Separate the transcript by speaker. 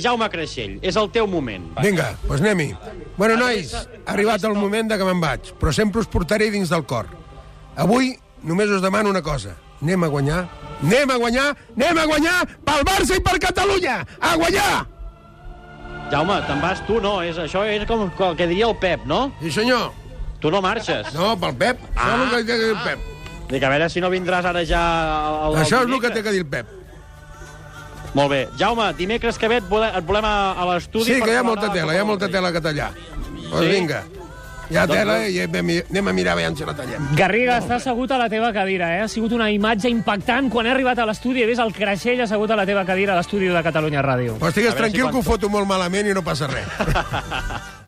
Speaker 1: Jaume Creixell, és el teu moment.
Speaker 2: Vinga, doncs anem-hi. Bueno, nois, ha arribat el moment de que me'n vaig, però sempre us portaré dins del cor. Avui només us demano una cosa. Anem a guanyar, anem a guanyar, anem a guanyar pel Barça i per Catalunya! A guanyar!
Speaker 1: Jaume, te'n vas tu, no? És, això és com el que diria el Pep, no?
Speaker 2: Sí, senyor.
Speaker 1: Tu no marxes.
Speaker 2: No, pel Pep. Això és el que té que dir el Pep.
Speaker 1: Dic, a veure si no vindràs ara ja... El, el
Speaker 2: Això és el que
Speaker 1: dimecres.
Speaker 2: té que dir el Pep.
Speaker 1: Molt bé. Jaume, dimecres que ve et, vole, et volem a, a l'estudi...
Speaker 2: Sí,
Speaker 1: per
Speaker 2: que hi ha
Speaker 1: parlar
Speaker 2: molta
Speaker 1: de
Speaker 2: tela, hi ha molta tela que tallar. Doncs
Speaker 1: Sí?
Speaker 2: vinga. Hi ha
Speaker 1: Doncs
Speaker 2: tela
Speaker 1: res.
Speaker 2: i anem anem a mirar veient si la tallem.
Speaker 3: Garriga, està assegut a la teva cadira, eh? Ha sigut una imatge impactant. Quan he arribat a l'estudi he vist el creixell assegut a la teva cadira a l'estudi de Catalunya Ràdio.
Speaker 2: Però estigues
Speaker 1: veure si
Speaker 2: tranquil
Speaker 1: quan-
Speaker 2: que ho foto molt malament i no passa res.